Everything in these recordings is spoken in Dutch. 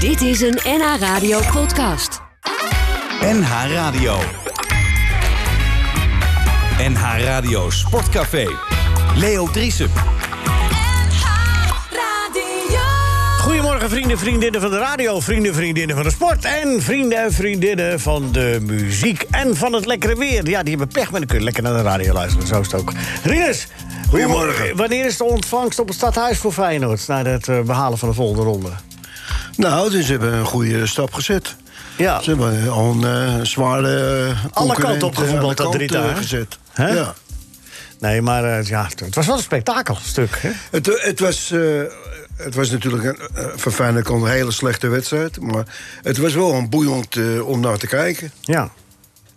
Dit is een NH Radio podcast. NH Radio. NH Radio Sportcafé. Leo Driesen. Goedemorgen vrienden, vriendinnen van de radio, vrienden, vriendinnen van de sport... en vrienden en vriendinnen van de muziek en van het lekkere weer. Ja, die hebben pech, maar dan kun je lekker naar de radio luisteren. Zo is het ook. Rinus, Goedemorgen. hoe- wanneer is de ontvangst op het stadhuis voor Feyenoord... na het eh, behalen van de volgende ronde? Nou, dus ze hebben een goede stap gezet. Ja, Ze hebben al een eh, zware eh, concurrent, alle eh, kanten alle opgevoetbald dat kanten drie dagen. gezet. Hè? Ja. Nee, maar eh, ja, het was wel een spektakelstuk, hè? Het, het, was, eh, het was natuurlijk een, eh, voor Feyenoord een hele slechte wedstrijd. Maar het was wel een boeiend eh, om naar te kijken. Ja.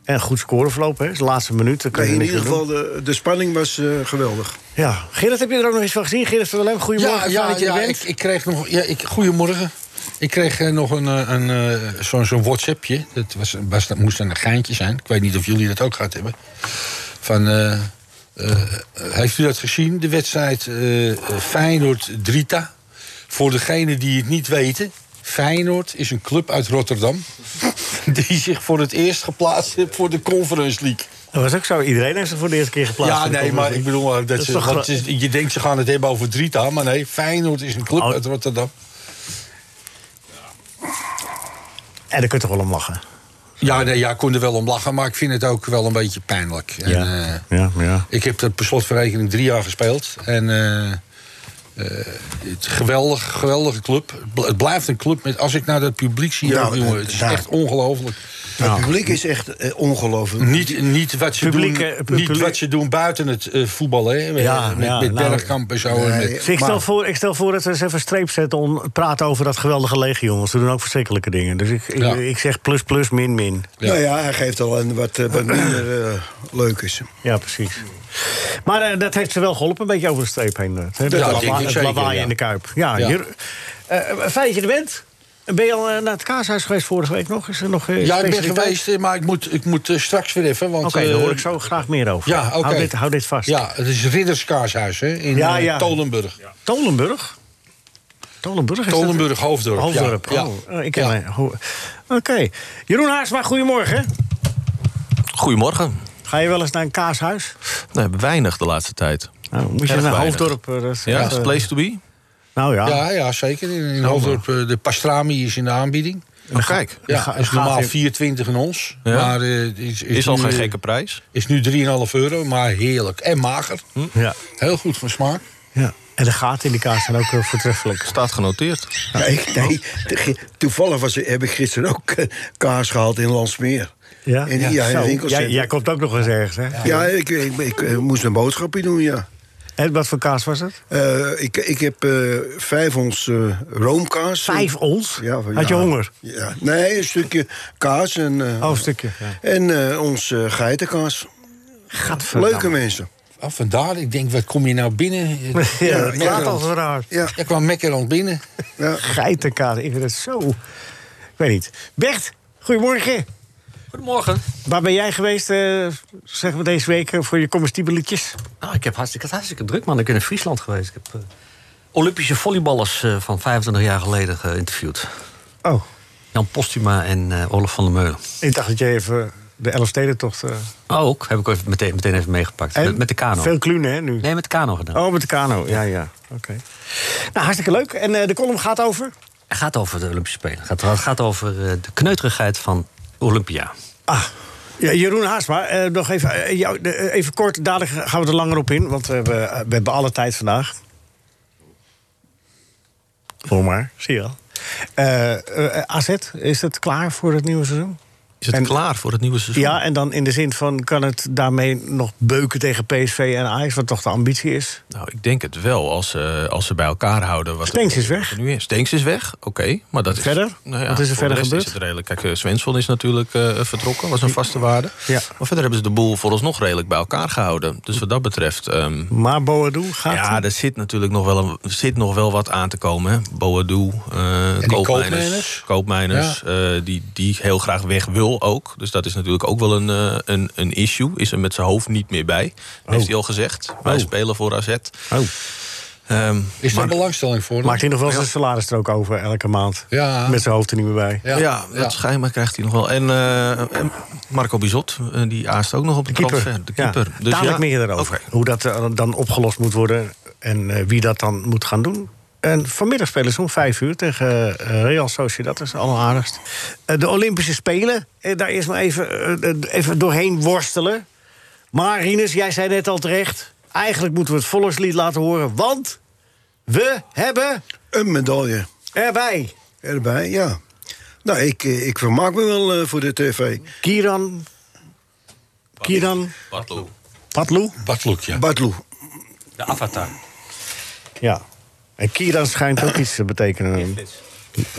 En goed scoreverloop, hè? Het is de laatste minuut. daar kun je in niks ieder aan doen. geval, de, de spanning was eh, geweldig. Ja, Gerrit, heb je er ook nog eens van gezien? Gerrit van der Lem, goedemorgen. Ja, fijn ja, dat je er ja bent. ik, ik kreeg nog. Ja, ik, goedemorgen. Ik kreeg eh, nog een, eh, een, eh, zo'n zo'n WhatsAppje. Dat, was, was, dat moest dan een geintje zijn. Ik weet niet of jullie dat ook gehad hebben. Van, eh, eh, heeft u dat gezien? De wedstrijd eh Feyenoord-Drita. Voor degenen die het niet weten. Feyenoord is een club uit Rotterdam. die zich voor het eerst geplaatst heeft voor de Conference League. Dat was ook zo. Iedereen heeft ze voor de eerste keer geplaatst. Ja, nee, maar ik bedoel, eh, dat is ze, toch want gro- ze- je denkt ze gaan het hebben over Drita, maar nee, Feyenoord is een club Oh. uit Rotterdam. En daar kun je toch wel om lachen. Ja, nee, ja, ik kon er wel om lachen, maar ik vind het ook wel een beetje pijnlijk. En, eh, ja, ja. ik heb dat per slotverrekening drie jaar gespeeld. En eh, eh, het geweldig, geweldige club. Het bl- Het blijft een club met, als ik naar dat publiek zie, Nou, ook, jongen, het is daar- echt ongelooflijk. Het publiek is echt eh, ongelooflijk. Niet, niet, wat ze Publiek, eh, doen, publiek- niet wat ze doen buiten het eh, voetbal, hè? Ja, met ja, met nou, Bergkamp en zo. en nee, met- Dus ik, stel Maar- voor, ik stel voor dat we eens even een streep zetten om praten over dat geweldige legioen. Want ze doen ook verschrikkelijke dingen. Dus ik, ik, Ja. ik zeg plus, plus, min, min. Ja. Nou ja, hij geeft al een wat, eh, wat minder eh, leuk is. Ja, precies. Maar eh, dat heeft ze wel geholpen, een beetje over de streep heen. Het, het, Ja, lawa- denk ik het zeker, lawaai ja. in de kuip. Ja, Ja. Hier, eh, fijn dat je er bent. Ben je al eh, naar het kaashuis geweest vorige week nog? Is er nog eh, Ja, ik ben specialiteit? geweest, eh, maar ik moet, ik moet eh, straks weer even. want, Oké, daar eh, hoor ik zo graag meer over. Ja, oké. hou, dit, hou dit vast. Ja, het is Ridderskaarshuis hè, in Ja, eh, ja. Tolenburg. Tolenburg? Tolenburg is dat- Tolenburg, Hoofddorp. Hoofddorp. Ja. Oh, ja. eh, ik ken Ja. mij. Ho- Oké. Jeroen Haarsma, goedemorgen. Goedemorgen. Ga je wel eens naar een kaashuis? Nee, weinig de laatste tijd. Nou, moet je Erg naar weinig. Hoofddorp? eh, dat- Ja, dat, is eh, het place to be. Nou ja. Ja, ja, zeker. In, in Hoofddorp, eh, de pastrami is in de aanbieding. Oh, kijk, Ja, ga- is gaat normaal in- 4,20 in ons. Ja. Maar eh, is, is, is al nu, geen eh, gekke prijs. Is nu 3,5 euro, maar heerlijk. En mager. ja. Heel goed van smaak. ja. En de gaten in die kaas zijn ook eh, voortreffelijk. Staat genoteerd. Ja, ik- nee, de- ge- toevallig was, heb ik gisteren ook eh, kaas gehaald in Landsmeer. Ja? In, ja, in Zo, een jij, winkelcentrum. jij komt ook nog eens ergens, hè? Ja, ik, ik, ik, eh, moest een boodschapje doen, ja. En wat voor kaas was het? Eh, ik, ik heb eh, vijf ons eh, roomkaas. Vijf ons? Ja, van- Had je ja. honger? Ja. Nee, een stukje kaas en, eh, Oh, een stukje. Ja. en eh, ons eh, geitenkaas. Leuke mensen. Ah, vandaar, ik denk, wat kom je nou binnen? Ja, dat ja, praat ja. als raar. Ja, Jij kwam Mekkerland binnen. ja. Geitenkaas, ik vind het zo... Ik weet niet. Bert, goedemorgen. Goedemorgen. Waar ben jij geweest, eh, zeg maar deze week, eh, voor je comestibeletjes? Nou, ik heb hartstikke, ik had hartstikke druk, man. Ik ben in Friesland geweest. Ik heb eh, Olympische volleyballers eh, van 25 jaar geleden geïnterviewd. Oh, Jan Postuma en eh, Olaf van der Meulen. ik dacht dat je even de Elfstedentocht... eh Ook, heb ik even meteen, meteen even meegepakt. en Met, met de kano. Veel klunen, hè, nu? Nee, met de kano gedaan. Oh, met de kano, ja, ja. Oké. Nou, hartstikke leuk. En eh, de column gaat over? Het gaat over de Olympische Spelen. Het gaat, het gaat over eh, de kneuterigheid van Olympia. Ah, ja, Jeroen Haasma, eh, nog even, eh, jou, de- eh, even kort, dadelijk gaan we er langer op in, want we hebben, eh, we hebben alle tijd vandaag. Hoor maar, zie je al. Eh, eh, eh, AZ, is het klaar voor het nieuwe seizoen? Is het En- klaar voor het nieuwe seizoen? Ja, en dan in de zin van, kan het daarmee nog beuken tegen PSV en Ajax, wat toch de ambitie is? Nou, ik denk het wel, als, ze als ze bij elkaar houden. Wat Stenks het- is weg. wat er Nu is. Stenks is weg, oké. maar dat Verder? Is, nou ja, Wat is er voor verder de rest gebeurd? Is het redelijk. Kijk, eh, Svensson is natuurlijk eh, vertrokken, was een vaste waarde. Ja. Maar verder hebben ze de boel vooralsnog redelijk bij elkaar gehouden. Dus wat dat betreft... ehm, Maar Boadu gaat... ja, er zit natuurlijk nog wel, een, er zit nog wel wat aan te komen. hè. Boadu, eh die koopmijners? koopmijners, koopmijners Ja. eh, die, die heel graag weg wil ook. Dus dat is natuurlijk ook wel een, eh, een, een issue. Is er met zijn hoofd niet meer bij, heeft hij al gezegd. Wij spelen voor AZ. Oh. Ehm, Is er maar- belangstelling voor? Maakt hij nog wel zijn salarisstrook over elke maand? Ja. Met zijn hoofd er niet meer bij. Ja, dat schijnbaar krijgt hij nog wel. En, eh, en Marco Bizot, eh, die aast ook nog op de, transfer. De keeper. Dus Ja. Dadelijk meer daarover. Oké. Hoe dat eh, dan opgelost moet worden en eh, wie dat dan moet gaan doen. En vanmiddag spelen ze om vijf uur tegen eh Real Sociedad. Dat is alleraardigst. Eh, de Olympische Spelen, eh, daar eerst maar even, eh, eh, even doorheen worstelen. Maar Rinus, jij zei net al terecht... eigenlijk moeten we het volkslied laten horen, want we hebben Een medaille erbij... erbij, ja. Nou, ik, eh, ik vermaak me wel eh, voor de tv. Kiran... Kiran... Bartlo. Patloe? Badloek, ja. Bartloe, De avatar. Ja. En Kiran schijnt ook iets te betekenen. Lichtflits.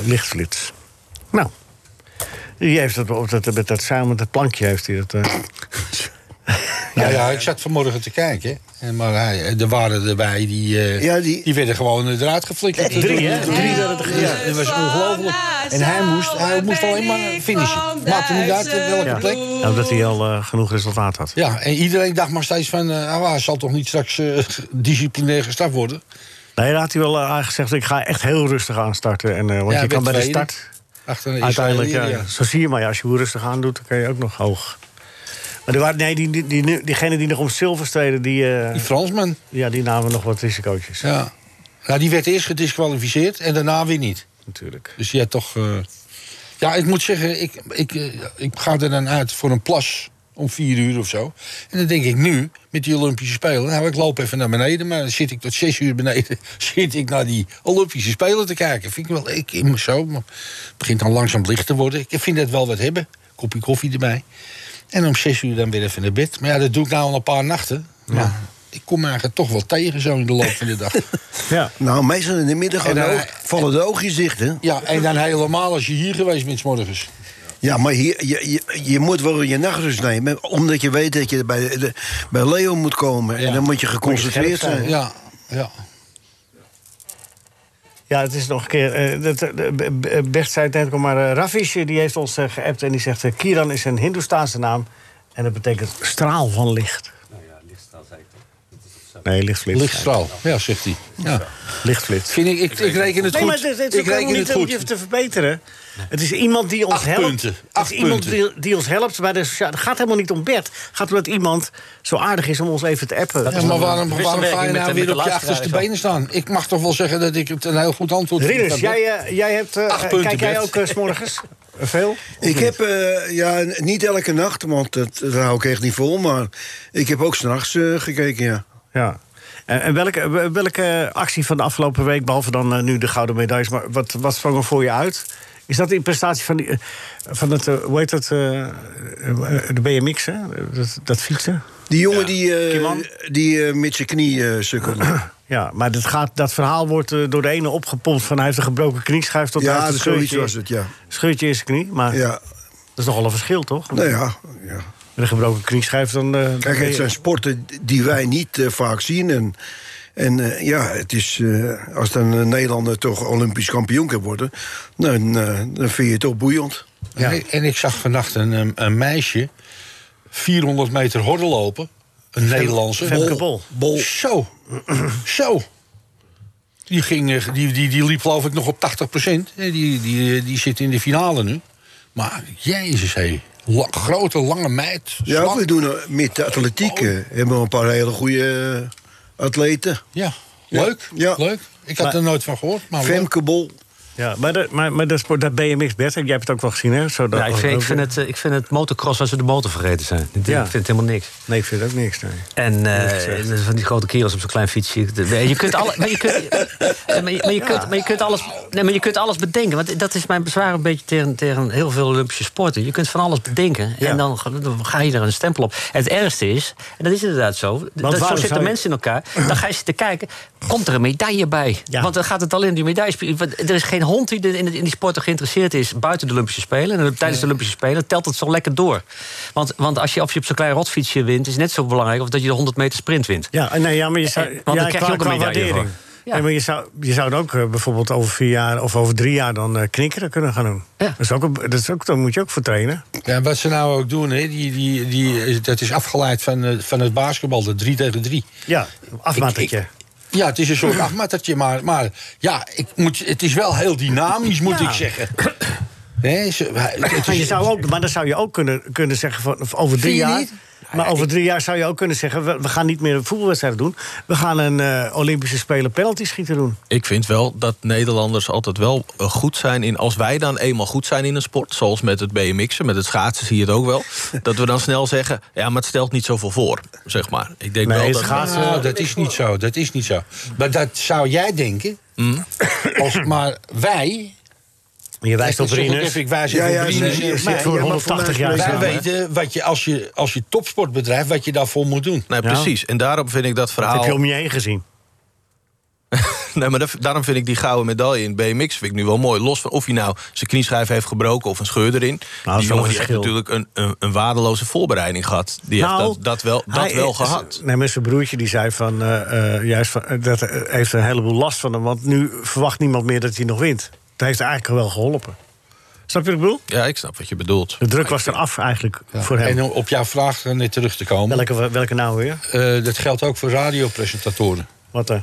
Lichtflits. Nou. Die heeft dat, op dat, met dat samen met dat plankje heeft hij dat... eh, Nou ja, ik zat vanmorgen te kijken. En maar hij, eh, er waren erbij die, eh, Ja, die- werden gewoon eruit geflikkerd. drie, hè? Drie dat het Ja, dat was ongelooflijk. En hij moest, hij moest alleen maar finishen. Maakte niet uit op welke ja. plek. Ja, Omdat hij al eh, genoeg resultaat had. Ja, en iedereen dacht maar steeds van... eh, ah, hij zal toch niet straks eh, disciplinair gestraft worden? Nee, daar had hij wel eh, aan gezegd... ik ga echt heel rustig aan starten. En, eh, want Ja, je kan bij werd de tweede. start... Achter een Uiteindelijk, ja, Israëliër, eh, zo zie je maar. ja, als je hoe rustig aan doet, dan kan je ook nog hoog. Maar er waren, nee, die, die, die, diegenen die nog om zilver streden... Die, eh, Die Fransman, ja, die namen nog wat risicootjes. ja. Nou, die werd eerst gedisqualificeerd en daarna weer niet. Natuurlijk. Dus je hebt toch... eh, Ja, ik moet zeggen, ik, ik, eh, ik ga er dan uit voor een plas om vier uur of zo. En dan denk ik nu, met die Olympische Spelen... nou, ik loop even naar beneden, maar dan zit ik tot zes uur beneden... zit ik naar die Olympische Spelen te kijken. Vind ik wel, ik in me zo, maar het begint dan langzaam licht te worden. Ik vind dat wel wat hebben, kopje koffie erbij. En om zes uur dan weer even naar bed. Maar ja, dat doe ik nou al een paar nachten. Maar ik kom eigenlijk toch wel tegen zo in de loop van de dag. Ja. nou, meestal in de middag gaan En, de eh, oog- vallen de oogjes dicht, hè? ja, en dan helemaal als je hier geweest bent 's morgens. Ja, maar hier, je, je, je moet wel je nachtrust nemen. Omdat je weet dat je bij, de, bij Leo moet komen. Ja. En dan moet je geconcentreerd Moet je scherp zijn. zijn. Ja, ja. Ja, het is nog een keer. eh, dat, eh, Be- Be- Bert zei het net ook, maar eh, Ravish eh, die heeft ons eh, geappt en die zegt: eh, Kiran is een Hindoestaanse naam. En dat betekent straal van licht. Nou ja, lichtstraal zei ik toch? Lichtstraal, ja, zegt hij. Ja. Nee, lichtflits. Lichtflits. Vind ik, ik, ik reken het Nee, goed. maar dit, dit is ik ook helemaal reken niet het om je goed. te verbeteren. Het is iemand die ons Acht helpt. punten. Het Acht is iemand punten. die, die ons helpt bij de sociale... Het gaat helemaal niet om Bert. Het gaat om dat iemand zo aardig is om ons even te appen. Ja, maar waarom, De waarom ga je wisselwerking met nou de- weer met de op je luisteraar achterste is wel- benen staan? Ik mag toch wel zeggen dat ik het een heel goed antwoord Rinus, heb. jij, eh, jij hebt... eh, Acht punten, kijk jij Bert. ook eh, 's morgens? Veel? Ik heb, eh, ja, n- niet elke nacht, want dat, dat hou ik echt niet vol. Maar ik heb ook s'nachts eh gekeken, ja. Ja. En, en welke, wel- welke actie van de afgelopen week, behalve dan eh, nu de gouden medailles, maar wat, wat sprong er voor je uit? Is dat in prestatie van, die, eh, van het, eh, hoe heet dat, eh, eh, de BMX, hè? Dat, dat fietsen? Die jongen die, eh, Kimman? die eh, met zijn knie eh, sukkelde. Ja, maar dat, gaat, dat verhaal wordt eh, door de ene opgepompt van hij heeft een gebroken knieschijf tot hij ja, heeft dat een zoiets scheurtje, was het, ja. scheurtje in zijn knie. Maar ja. dat is nogal een verschil, toch? Nou ja, ja. Met een gebroken knieschijf dan... eh, dan Kijk, ben het je- zijn sporten die wij niet eh, vaak zien. En, en eh, ja, het is, eh, als dan een Nederlander toch Olympisch kampioen kan worden... Dan, eh, dan vind je het toch boeiend. En, ik, en ik zag vannacht een, een, een meisje 400 meter horden lopen. Een Nederlandse. Femke Bol. Zo. Zo. Die, ging, eh, die, die, die liep geloof ik nog op 80 Die, die, die, eh, die zit in de finale nu. Maar jezus, hé. La- grote, lange meid. Ja, slank. we doen eh, met de atletiek eh, hebben we een paar hele goede eh, atleten. Ja, leuk. Ja. leuk. Ik had Maar- er nooit van gehoord. Maar leuk. Femke Bol. Ja, maar, dat- maar, maar dat, sport- dat BMX, Bert, jij hebt het ook wel gezien, hè? Zo dat- Ja, ik vind, ik, vind het, eh, ik vind het motocross als ze de motor vergeten zijn. Ik oh, Ja. vind het helemaal niks. Nee, ik vind het ook niks, nee. En eh, van die grote kerels op zo'n klein fietsje. Je kunt, alle, maar je kunt, eh, maar je, maar je kunt, maar je kunt alles, nee, maar je kunt alles bedenken. Want dat is mijn bezwaar een beetje tegen, tegen heel veel Olympische sporten. Je kunt van alles bedenken. Ja. En dan, ga- dan ga je er een stempel op. En het ergste is, en dat is inderdaad zo. Dat, waarom zo zou zitten je- mensen in elkaar. Dan ga je zitten kijken, komt er een medaille bij? Ja. Want dan gaat het alleen om die medailles. Want Er is geen hond die er in, in die sporten geïnteresseerd is buiten de Olympische Spelen. En tijdens de Olympische Spelen telt het zo lekker door. Want, want als je, of je op zo'n klein rotfietsje wint, is net zo belangrijk of dat je de 100 meter sprint wint. Ja, eh, nee, ja, maar je zou... Eh, want ja, dan krijg je qua- ook een qua medaille waardering. voor. Ja. Nee, maar je zou, je zou het ook eh, bijvoorbeeld over vier jaar of over drie jaar dan eh, knikkeren kunnen gaan doen. Ja. Dat is ook, een- dat is ook, daar moet je ook voor trainen. Ja, wat ze nou ook doen, hè, die, die, die, dat is afgeleid van, eh, van het basketbal, de 3 tegen 3. Ja, afmattertje. Ik- ik- Ja, het is een soort afmattertje, maar, maar ja, ik moet, het is wel heel dynamisch, moet Ja. ik zeggen. Nee, ze- hij- het Maar, Ah, is- Dus je zou ook, maar dan zou je ook kunnen, kunnen zeggen van of over drie Vind je jaar. niet? Maar over drie jaar zou je ook kunnen zeggen: we, we gaan niet meer een voetbalwedstrijd doen. We gaan een eh, Olympische Spelen penalty schieten doen. Ik vind wel dat Nederlanders altijd wel eh, goed zijn in... als wij dan eenmaal goed zijn in een sport, zoals met het BMX'en... met het schaatsen zie je het ook wel... dat we dan snel zeggen, ja, maar het stelt niet zoveel voor, zeg maar. Ik denk Nee, wel dat... schaatsen- Nou, dat is niet zo, dat is niet zo. Maar dat zou jij denken, als, maar wij... Je wijst op Ik zeg ook Rinus. even, Ik wijs even Ja, ja, op Rinus nee, en je op zit mij. voor Ja, maar 180 jaar volgens Wij mij- samen. weten wat je, als, je, als je topsport bedrijft, wat je daarvoor moet doen. Nee, Ja. precies. En daarom vind ik dat Dat verhaal... heb je om je heen gezien. Nee, maar dat- daarom vind ik die gouden medaille in BMX vind ik nu wel mooi. Los van of hij nou zijn knieschijf heeft gebroken of een scheur erin. Nou, wel die een jongen die heeft verschil. Nou, natuurlijk een, een, een waardeloze voorbereiding gehad. Die heeft dat, dat wel, dat hij- wel eh, gehad. Nee, maar zijn broertje die zei van, eh, eh, juist van, eh, dat eh, heeft een heleboel last van hem. Want nu verwacht niemand meer dat hij nog wint. Dat heeft eigenlijk wel geholpen. Snap je wat ik bedoel? Ja, ik snap wat je bedoelt. De druk was eraf eigenlijk voor hem. En om op jouw vraag eh, net terug te komen, welke, welke nou weer? eh, dat geldt ook voor radiopresentatoren. Wat er?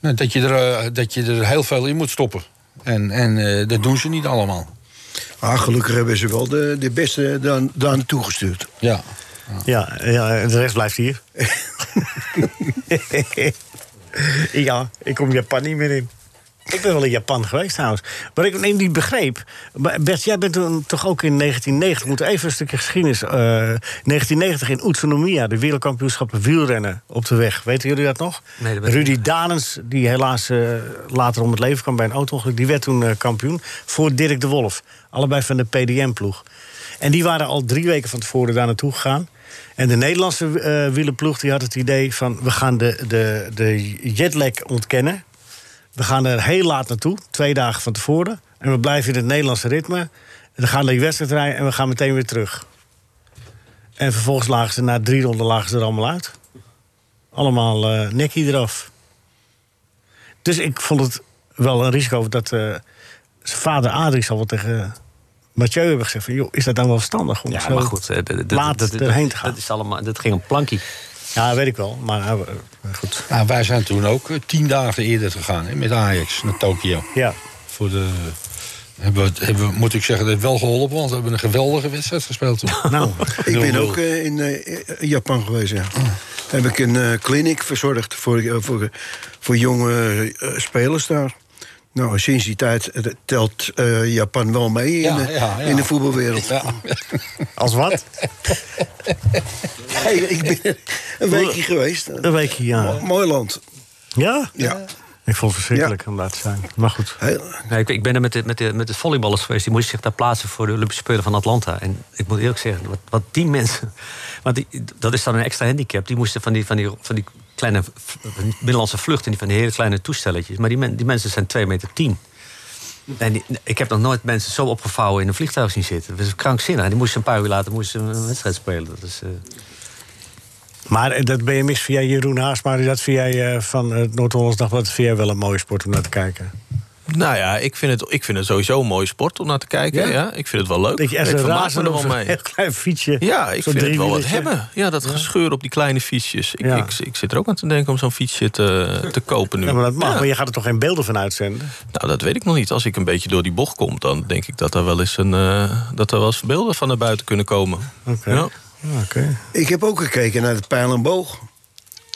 Nou, dat, je er, eh, dat je er heel veel in moet stoppen. En, en eh, dat doen ze niet allemaal. Ah, gelukkig hebben ze wel de, de beste dan, daar naartoe gestuurd. Ja. Ja, ja, de rest blijft hier. ja, ik kom Japan niet meer in. Ik ben wel in Japan geweest trouwens. Maar ik neem die begreep. Maar Bert, jij bent toen toch ook in 1990... Ik moet even een stukje geschiedenis. eh, 1990 in Utsunomiya, de wereldkampioenschappen wielrennen op de weg. Weten jullie dat nog? Nee, dat weet ik Rudy Danens, die helaas eh, later om het leven kwam bij een auto-ongeluk... die werd toen eh, kampioen voor Dirk de Wolf. Allebei van de PDM-ploeg. En die waren al drie weken van tevoren daar naartoe gegaan. En de Nederlandse eh, wielerploeg die had het idee van... we gaan de, de, de jetlag ontkennen. We gaan er heel laat naartoe, twee dagen van tevoren. En we blijven in het Nederlandse ritme. We gaan naar die wedstrijd rijden en we gaan meteen weer terug. En vervolgens lagen ze na drie ronden lagen ze er allemaal uit. Allemaal eh nekkie eraf. Dus ik vond het wel een risico dat eh, zijn vader Adrie zal wel tegen Mathieu hebben gezegd van... joh, is dat dan wel verstandig om Ja, zo maar goed. eh, d- d- d- laat dat- erheen te gaan? Dat, is allemaal, dat ging om plankie. Ja, weet ik wel, maar eh, eh, goed. Nou, wij zijn toen ook eh, tien dagen eerder gegaan hè, met Ajax naar Tokio. Ja. Voor de, hebben, we- hebben, we- moet ik zeggen, dat heeft wel geholpen, want we hebben een geweldige wedstrijd gespeeld toen. Nou, Ik ben Nul-nul. ook eh, in eh, Japan geweest, ja. Heb ik een eh clinic verzorgd voor, eh, voor, voor jonge eh, spelers daar. Nou, sinds die tijd eh, telt eh, Japan wel mee in, Ja, de, ja, ja. in de voetbalwereld. Ja. als wat? Hey, ik ben een weekje geweest. Een weekje, ja. Mooi land. Ja? Ja. Ik vond het verschrikkelijk om daar te zijn. Maar goed. Heel, Nee, ik, ik ben er met de, met, de, met de volleyballers geweest. Die moesten zich daar plaatsen voor de Olympische Spelen van Atlanta. En ik moet eerlijk zeggen, wat, wat die mensen... Want die, dat is dan een extra handicap. Die moesten van die, van die, van die kleine v- binnenlandse vluchten... en die van die hele kleine toestelletjes. Maar die, men- die mensen zijn 2 meter 10. En die- ik heb nog nooit mensen zo opgevouwen in een vliegtuig zien zitten. Dat is krankzinnig. En die moesten een paar uur later moesten een wedstrijd spelen. Dat is, eh, Maar eh, dat BMX via Jeroen Haasma, dat vind jij eh, van het Noord-Hollands Dagblad... vind jij wel een mooie sport om naar te kijken. Nou ja, ik vind, het, ik vind het sowieso een mooie sport om naar te kijken. Ja? Ik vind het wel leuk. Dat je echt ik een vermaak me razen er op wel zo'n mee. heel klein fietsje. Ja, ik zo'n vind het wel wat driewieletje. hebben. Ja, dat gescheur op die kleine fietsjes. Ik, Ja. ik, ik zit er ook aan te denken om zo'n fietsje te, te kopen nu. Ja, maar dat mag, Ja. maar je gaat er toch geen beelden van uitzenden? Nou, dat weet ik nog niet. Als ik een beetje door die bocht kom, dan denk ik dat er wel eens, een, eh, dat er wel eens beelden van naar buiten kunnen komen. Oké. Ja. Ja, oké. ik heb ook gekeken naar het pijl en boog.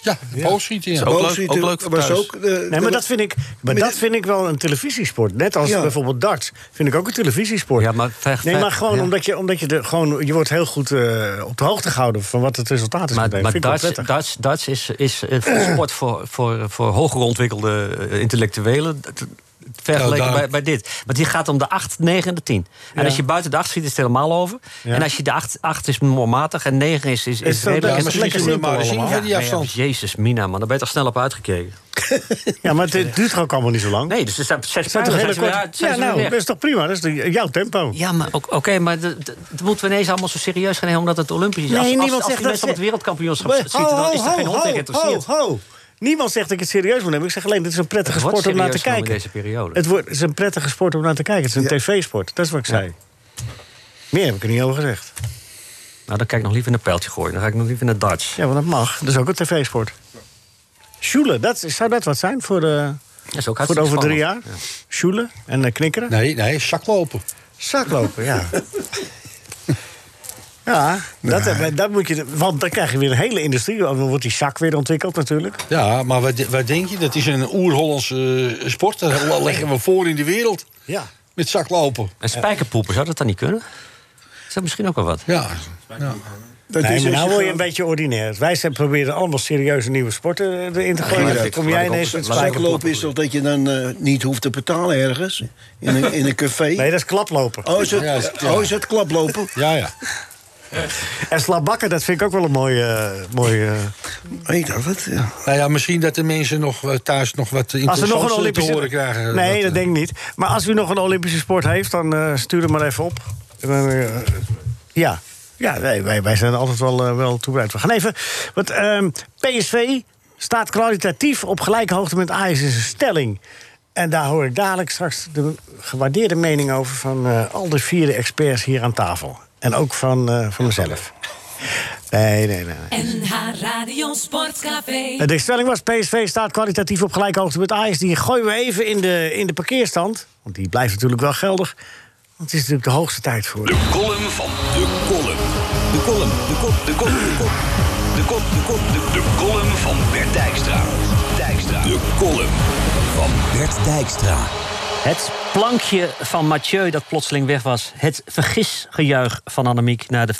Ja, boogschieten, ja. Ook leuk- Boogschieten ook leuk voor was thuis. ook, eh, Nee, maar dat vind ik, maar dat vind ik wel een televisiesport. Net als Ja. bijvoorbeeld darts vind ik ook een televisiesport. Ja, maar vecht- nee, maar vecht- gewoon ja. omdat je, omdat je, de, gewoon, je wordt heel goed eh, op de hoogte gehouden... van wat het resultaat is. Maar, meteen. maar Vind ik wel darts, prettig. darts, darts is, is een sport voor, voor, voor hoger ontwikkelde eh, intellectuelen. Dat- dat- Vergeleken Ja, daar- bij, bij dit. Want die gaat om de 8, 9 en de 10. En Nou, Ja. als je buiten de 8 schiet, is het helemaal over. Ja. En als je de 8, 8 is matig en 9 is, is, Is is dat- redelijk. Ja, is en lekker maar schieten we simpel er maar eens in allemaal. van die Ja, afstand. ja, jezus, Mina, man, daar ben je toch snel op uitgekeken. Ja, maar het duurt toch ook allemaal niet zo lang? Nee, dus er zijn zes Het zijn toch pijlen, hele zijn ze weer korte- uit, zijn Ja, ze weer nou, weg. dat is toch prima? Dat is de- jouw tempo. Ja, maar ook- oké, maar dat dat- dat moeten we ineens allemaal zo serieus gaan nemen omdat het Olympisch is. Nee, als, als- niemand als, zegt die dat mensen op ze- het wereldkampioenschap Maar- schieten, dan is er geen hond in geïnteresseerd. ho, ho. Niemand zegt dat ik het serieus moet nemen. Ik zeg alleen, dit is een prettige Het wordt sport om naar te serieus kijken. genomen in deze periode. Het, wordt, het is een prettige sport om naar te kijken. Het is een tv-sport. Dat is wat ik zei. Meer heb ik er niet over gezegd. Nou, dan kijk ik nog liever naar pijltje gooien. Dan ga ik nog liever naar darts. Ja, want dat mag. Dat is ook een tv-sport. Schule, dat, zou dat wat zijn voor, eh, Dat is ook voor hartstikke over drie jaar? spannend. Schule en eh, knikkeren? Nee, nee, zaklopen. Zaklopen, ja. Ja, dat, eh, dat moet je, want dan krijg je weer een hele industrie. Dan wordt die zak weer ontwikkeld natuurlijk. Ja, maar wat, de- wat denk je? Dat is een oer-Hollandse eh, sport. Dat le- leggen we voor in de wereld. Ja. Met zaklopen. En spijkerpoepen, zou dat dan niet kunnen? Is dat misschien ook wel wat? Ja. Dat Nee, is als maar nou je word je een gewoon- beetje ordinair. Wij zijn proberen allemaal serieuze nieuwe sporten eh, erin te gooien. Ja, Dan ik- kom jij laat ik ook- ineens met laat ik ook- spijker- Zaklopen is toch dat je dan eh, niet hoeft te betalen ergens? In een, in een café? Nee, dat is klaplopen. Oh, is Ja, het, is- ja. oh, is het klaplopen? Ja, ja. En slabakken, dat vind ik ook wel een mooie... eh, mooie eh, Ik dacht Oh, het, ja. Nou ja, misschien dat de mensen nog eh, thuis nog Als wat we nog een interessants eh, te Olympische... horen krijgen. nee, dat eh, denk ik niet. Maar als u nog een Olympische sport heeft, dan eh, stuur hem maar even op. En dan, eh, ja, ja nee, wij, wij zijn er altijd wel, eh, wel toe bereid. We gaan even... Want, ehm, PSV staat kwalitatief op gelijke hoogte met Ajax in zijn stelling. En daar hoor ik dadelijk straks de gewaardeerde mening over... van eh, al de vierde experts hier aan tafel. En ook van, eh, van mezelf. Nee, nee, nee. nee. NH Radio Sportcafé. De stelling was: PSV staat kwalitatief op gelijke hoogte met Ajax. Die gooien we even in de, in de parkeerstand. Want die blijft natuurlijk wel geldig. Want het is natuurlijk de hoogste tijd voor. De column van de column. De column, de kop, de kop, de kop. De kop, de kop, de De column van Bert Dijkstra. Dijkstra. De column van Bert Dijkstra. Het plankje van Mathieu dat plotseling weg was. Het vergisgejuich van Annemiek na de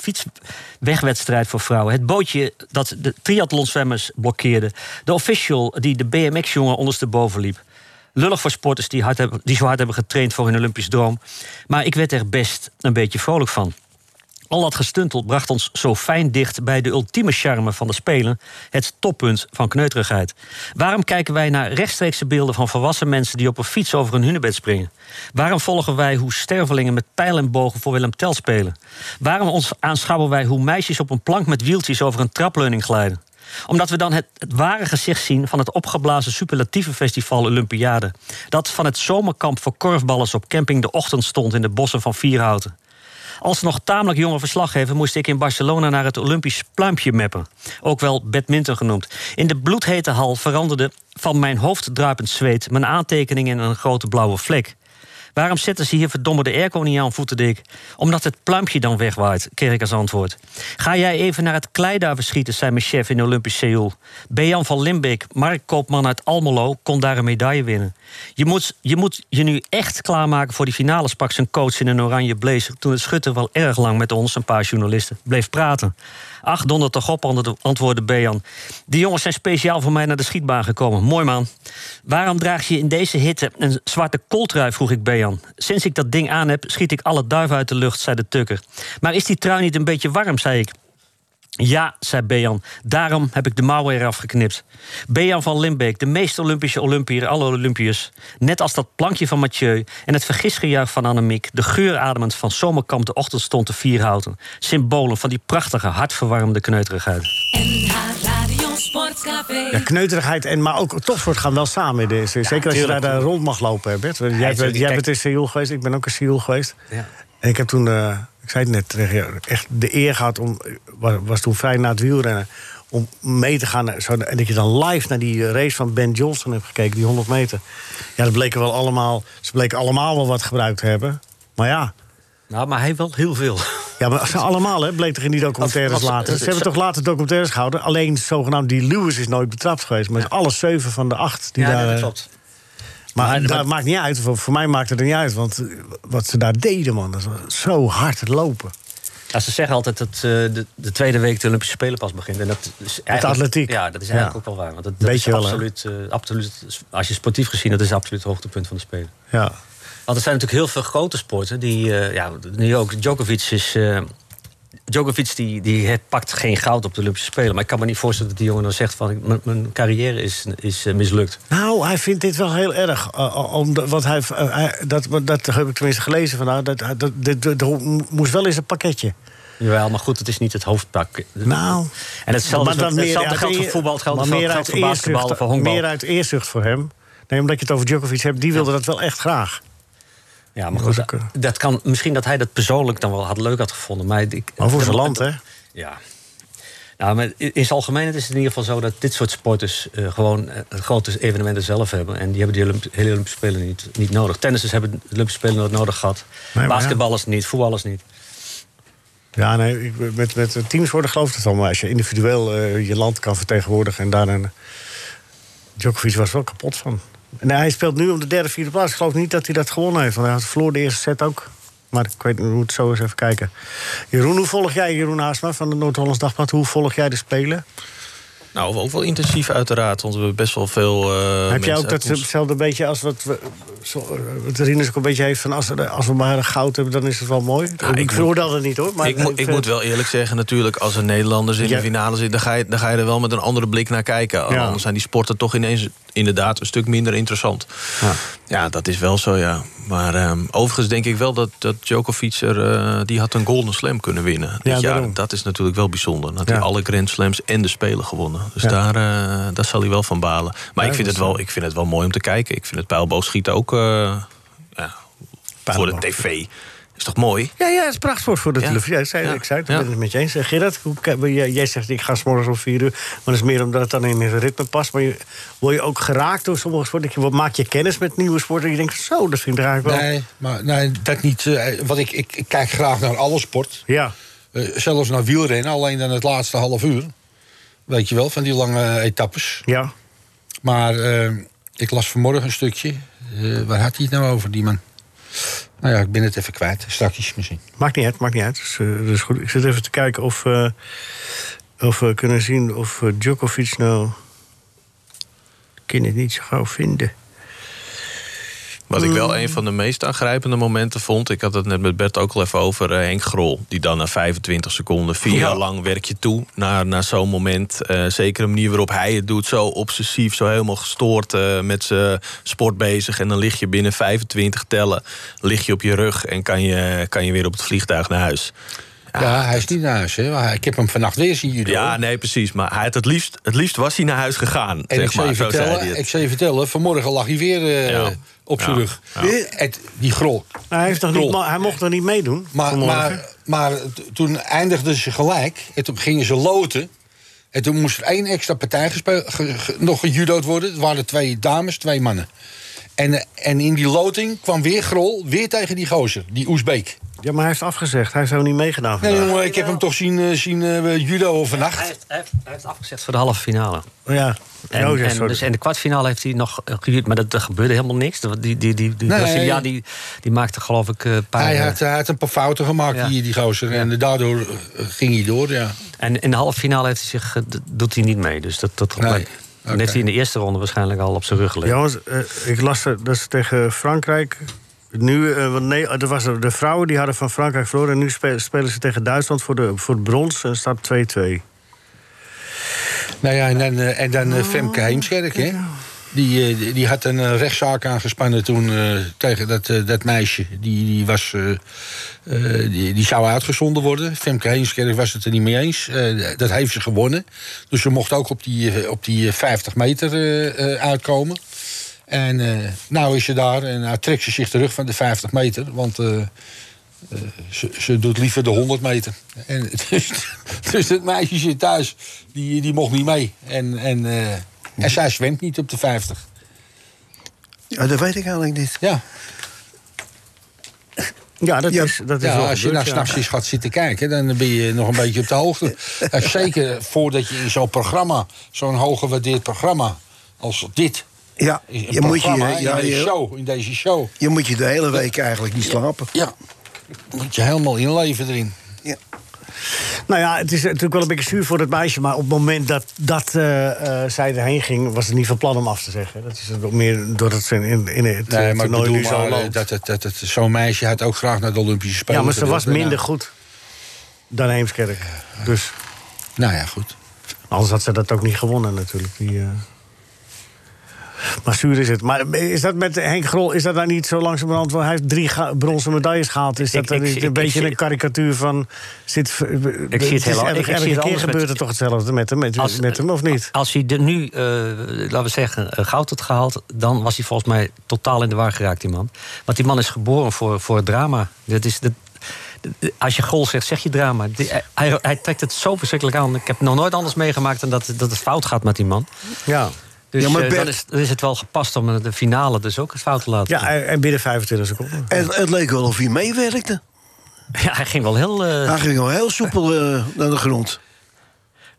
fietswegwedstrijd voor vrouwen. Het bootje dat de triathlonzwemmers blokkeerde. De official die de BMX-jongen ondersteboven liep. Lullig voor sporters die, hard hebben, die zo hard hebben getraind voor hun Olympisch droom. Maar ik werd er best een beetje vrolijk van. Al dat gestuntel bracht ons zo fijn dicht bij de ultieme charme van de Spelen, het toppunt van kneuterigheid. Waarom kijken wij naar rechtstreekse beelden van volwassen mensen die op een fiets over een hunebed springen? Waarom volgen wij hoe stervelingen met pijl en bogen voor Willem Tell spelen? Waarom ons aanschouwen wij hoe meisjes op een plank met wieltjes over een trapleuning glijden? Omdat we dan het, het ware gezicht zien van het opgeblazen superlatieve festival Olympiade. Dat van het zomerkamp voor korfballers op camping de ochtend stond in de bossen van Vierhouten. Als nog tamelijk jonge verslaggever moest ik in Barcelona naar het Olympisch pluimpje meppen. Ook wel badminton genoemd. In de bloedhete hal veranderde van mijn hoofddruipend zweet mijn aantekening in een grote blauwe vlek. Waarom zetten ze hier verdomme de airco niet aan, voetende ik. Omdat het pluimpje dan wegwaait, kreeg ik als antwoord. Ga jij even naar het kleiduiven schieten, zei mijn chef in Olympisch Seoul. Bejan van Limbeek, marktkoopman uit Almelo, kon daar een medaille winnen. Je moet je, moet je nu echt klaarmaken voor die finale, sprak zijn coach in een oranje blazer... toen het schutter wel erg lang met ons, een paar journalisten, bleef praten. Ach, donder toch op, antwo- antwoordde Bejan. Die jongens zijn speciaal voor mij naar de schietbaan gekomen. Mooi man. Waarom draag je in deze hitte een zwarte kooltrui, vroeg ik Bejan. Sinds ik dat ding aan heb, schiet ik alle duiven uit de lucht, zei de tukker. Maar is die trui niet een beetje warm, zei ik. Ja, zei Bejan. Daarom heb ik de mouwen eraf geknipt. Bejan van Limbeek, de meest Olympische Olympier alle Olympiërs. Net als dat plankje van Mathieu en het vergisgejuich van Annemiek... de geurademend van zomerkamp de ochtendstond te vierhouten. Symbolen van die prachtige, hartverwarmende kneuterigheid. NH Radio Sportcafé. Ja, kneuterigheid en maar ook topsport gaan wel samen. in deze. Zeker als je daar, tuurlijk. daar rond mag lopen, hè, Bert. Want Jij, tuurlijk, bent, jij kijk. bent in Seoul geweest, ik ben ook in Seoul geweest. En ik heb toen, eh, ik zei het net tegen jou, echt de eer gehad om, was, was toen vrij na het wielrennen, om mee te gaan. naar zo'n- en dat je dan live naar die eh, race van Ben Johnson hebt gekeken, die 100 meter. Ja, dat bleken wel allemaal, ze bleken allemaal wel wat gebruikt te hebben. Maar ja, Nou, maar hij wel heel veel. ja maar ze allemaal, hè, bleek toch in die documentaires Als- als- later. Ze hebben toch later documentaires gehouden. Alleen zogenaamd die Lewis is nooit betrapt geweest. Maar alle zeven van de acht die daar... eh, maar, Maar- dat maar- maakt niet uit. Voor, voor mij maakt het er niet uit. Want eh, wat ze daar deden, man, dat was zo hard lopen. Ja, ze zeggen altijd dat eh, de, de tweede week de Olympische Spelen pas begint. En dat is eigenlijk- atletiek. Ja, dat is Ja. eigenlijk ook wel waar. Want dat, dat is Beetje wel, hè? absoluut, eh, absoluut, als je sportief gezien, dat is absoluut het hoogtepunt van de Spelen. Ja. Want er zijn natuurlijk heel veel grote sporten die. eh, ja, nu ook. Djokovic is. eh, Djokovic die, die het pakt geen goud op de Olympische Spelen. Maar ik kan me niet voorstellen dat die jongen dan zegt van... "M- mijn carrière is, is eh, mislukt. Nou, hij vindt dit wel heel erg. eh, omdat, want hij, eh, hij- dat, dat heb ik tenminste gelezen vandaag. Dat, eh, dat, dit- dit moest wel eens een pakketje. Jawel, maar goed, het is niet het hoofdpak. Nou, En hetzelfde, Maar dat meer hetzelfde uit geldt voor eer- voetbal, het geldt, maar hetzelfde meer geldt uit voor basketbal, eerzucht- voor honkbal. Meer uit eerzucht voor hem. Nee, omdat je het over Djokovic hebt, die wilde dat wel echt graag. Ja, maar Dat goed, is dat, ook, eh, dat kan, misschien dat hij dat persoonlijk dan wel had leuk had gevonden. Maar, ik, Maar voor dat- zijn land, hè? Ja. Nou, maar in zijn algemeenheid is het in ieder geval zo dat dit soort sporters eh, gewoon eh, grote evenementen zelf hebben. En die hebben die Olymp- hele Olympische Spelen niet, niet nodig. Tennissers hebben de Olympische Spelen nooit nodig gehad. maar ja. Basketballers niet, voetballers niet. Ja, nee, ik- met, met teams worden geloof ik het allemaal. Als je individueel eh, je land kan vertegenwoordigen en daar een... Djokovic was er wel kapot van. En hij speelt nu om de derde, vierde plaats. Ik geloof niet dat hij dat gewonnen heeft. Want hij had verloor de eerste set ook. Maar ik weet, we moeten zo eens even kijken. Jeroen, hoe volg jij, Jeroen Haasma van het Noord-Hollands Dagblad... hoe volg jij de Spelen? Nou, ook wel intensief uiteraard, want we hebben best wel veel eh, Heb mensen jij ook uit ons- datzelfde beetje als wat, we, zo, eh, wat Rinus ook een beetje heeft... van als, we- als we maar goud hebben, dan is het wel mooi? ik ik moet- veroordeel dat niet, hoor. Maar ik, mo- ik vind- moet wel eerlijk zeggen, natuurlijk, als er Nederlanders in Ja. de finale zitten, dan ga, je, dan ga je er wel met een andere blik naar kijken. Ja. Anders zijn die sporten toch ineens inderdaad een stuk minder interessant. Ja. Ja, dat is wel zo, ja. Maar ehm, overigens denk ik wel dat, dat Djokovic er, eh, die had een Golden Slam kunnen winnen. dit Ja, jaar. daarom. dat is natuurlijk wel bijzonder. Dat hij Ja. alle Grand Slams en de Spelen gewonnen. Dus Ja. daar, eh, daar zal hij wel van balen. Maar Ja, ik, vind dat het is- eh, wel, ik vind het wel mooi om te kijken. Ik vind het pijlboogschieten ook eh, ja, voor de Pijlboog. tv. Is toch mooi? Ja, ja, het is prachtsport voor de Ja. televisie. Ja, ik zei, Ja. ik zei het, ik Ja. ben het met je eens. Eh, Gerard, hoe, kijk- ben jij, jij zegt ik ga s'morgens om vier uur. Maar dat is meer omdat het dan in het ritme past. Maar je, word je ook geraakt door sommige sporten? Dat je- wat- Maak je kennis met nieuwe sporten? En je denkt, zo, dat vind ik eigenlijk wel... Nee, maar nee, dat niet. eh, want ik, ik, ik kijk graag naar alle sport. Ja, Eh, zelfs naar wielrennen, alleen dan het laatste half uur. Weet je wel, van die lange etappes. ja. Maar eh, ik las vanmorgen een stukje. Eh, waar had hij het nou over, die man? Nou ja, ik ben het even kwijt. Straks misschien. Maakt niet uit, maakt niet uit. Dus, eh, dat is goed. Ik zit even te kijken of, eh, of we kunnen zien of eh, Djokovic nou... Ik kan het niet zo gauw vinden. Wat ik Mm. wel een van de meest aangrijpende momenten vond... ik had het net met Bert ook al even over eh, Henk Grol... die dan na 25 seconden, vier jaar lang werk je toe... naar, naar zo'n moment. Eh, zeker de manier waarop hij het doet, zo obsessief... zo helemaal gestoord eh, met zijn sport bezig... en dan lig je binnen 25 tellen, lig je op je rug... en kan je, kan je weer op het vliegtuig naar huis. Ja, hij is niet naar huis. Hè? Maar Ik heb hem vannacht weer zien jullie. Ja, hoor. nee, precies. Maar hij had het, liefst, het liefst was hij naar huis gegaan. En zeg ik, zou maar, je zo zei hij vertellen, het. ik zou je vertellen, vanmorgen lag hij weer eh, Ja. op zijn Ja. rug. Het- die grol. Nou, hij, heeft nog Grol. niet, ma- hij mocht nog niet meedoen Maar, vanmorgen. maar, maar t- toen eindigden ze gelijk. En toen gingen ze loten. En toen moest er één extra partij gespe- ge- ge- nog gejudood worden. Het waren twee dames, twee mannen. En, eh, en in die loting kwam weer Grol, weer tegen die gozer, die Oezbeek. Nou, Ja, maar hij heeft afgezegd. Hij heeft helemaal niet meegedaan Nee, vandaag. jongen, ik heb hem toch zien, eh, zien eh, judo Hij vannacht. heeft, hij heeft- hij heeft afgezet voor de halve finale. Ja. En, Oh, ja, en, sorry. dus, en de kwartfinale heeft hij nog eh, geduurd, maar dat, er gebeurde helemaal niks. Die, die, die, die, die Nee. Braziliaan, die, die maakte geloof ik eh, een paar... Hij eh, had, hij had een paar fouten gemaakt, Ja. die, die gozer. En daardoor eh, ging hij door, ja. En in de halve finale heeft hij zich, eh, d- doet hij niet mee. Dus dat, dat Nee, maar- oké. dan heeft hij in de eerste ronde waarschijnlijk al op zijn rug gelegen. Jongens, eh, ik las er- dat ze tegen Frankrijk. Nu, eh, want nee, eh, dat was er- de vrouwen die hadden van Frankrijk verloren. En nu spe- spelen ze tegen Duitsland voor, de, voor het brons. En staat 2-2. Nou ja, en dan, eh, en dan eh, Femke Heemskerk, hè? Die, eh, die- die had een eh, rechtszaak aangespannen toen eh, tegen dat, eh, dat meisje. Die, die, was, eh, eh, die, die zou uitgezonden worden. Femke Heemskerk was het er niet mee eens. Eh, dat heeft ze gewonnen. Dus ze mocht ook op die, eh, op die eh, 50 meter eh, eh, uitkomen. En eh, nou is ze daar en nou trekt ze zich terug van de 50 meter. Want eh, eh, ze, ze doet liever de 100 meter. En, dus, dus dat meisje zit thuis, die, die mocht niet mee. En, en, eh, en zij zwemt niet op de 50. Ja, dat weet ik eigenlijk niet. Ja, Ja, dat Ja. is, dat is ja wel als je gebeurd, nou ja. s'nachts eens gaat zitten kijken, dan ben je nog een beetje op de hoogte. En zeker voordat je in zo'n programma, zo'n hooggewaardeerd programma als dit. Ja, Een je moet je, programma in, ja, deze je, show, in deze show. je moet je de hele week eigenlijk niet slapen. Ja, moet je helemaal inleven erin. Ja. Nou ja, het is natuurlijk wel een beetje zuur voor het meisje. Maar op het moment dat, dat eh, eh, zij erheen ging, was het niet van plan om af te zeggen. Dat is ook meer doordat ze in, in het eh, Nee, maar ik toernooi bedoel nu zo maar, eh, loopt. dat, het- dat, het- zo'n meisje had ook graag naar de Olympische Spelen ja, maar ze gewild. was minder Nou, goed dan Heemskerk. Dus Nou ja, goed. Anders had ze dat ook niet gewonnen natuurlijk. Die, eh. Maar zuur is het. Maar is dat met Henk Grol, is dat nou niet zo langzamerhand... Want hij heeft drie ga- bronzen medailles gehaald. Is dat Ik- dan ik- niet ik- een ik beetje zie- een karikatuur van... Zit, ik het heel al- ik- ik zie het Elke keer anders gebeurt met- het toch hetzelfde met hem, met, Als- met hem of niet? Als hij er nu, eh, laten we zeggen, eh, goud had gehaald... dan was hij volgens mij totaal in de war geraakt, die man. Want die man is geboren voor, voor het drama. Dat is, dat, als je goal zegt, zeg je drama. Die- hij, hij trekt het zo verschrikkelijk aan. Ik heb nog nooit anders meegemaakt dan dat, dat het fout gaat met die man. Ja. Dus Ja, maar eh, Bert- dan, is, dan is het wel gepast om de finale dus ook het fout te laten. ja, en en binnen 25 seconden. Het, het leek wel of hij meewerkte. Ja, hij ging wel heel... eh, Hij ging wel heel soepel eh, naar de grond.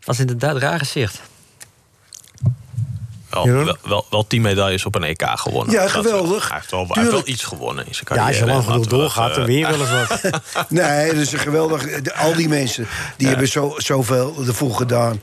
was inderdaad raar gezicht. Wel, Jeroen? wel, wel, wel tien medailles op een EK gewonnen. Ja, Dat is wel- geweldig. Hij heeft wel, hij heeft Tuurlijk. wel iets gewonnen in zijn Ja, carrière. als je lang genoeg Laten we dat, doorgaat, dan eh, win je wel eens wat. Nee, dat is een geweldig. de- Al die mensen die hebben zo, zoveel ervoor gedaan.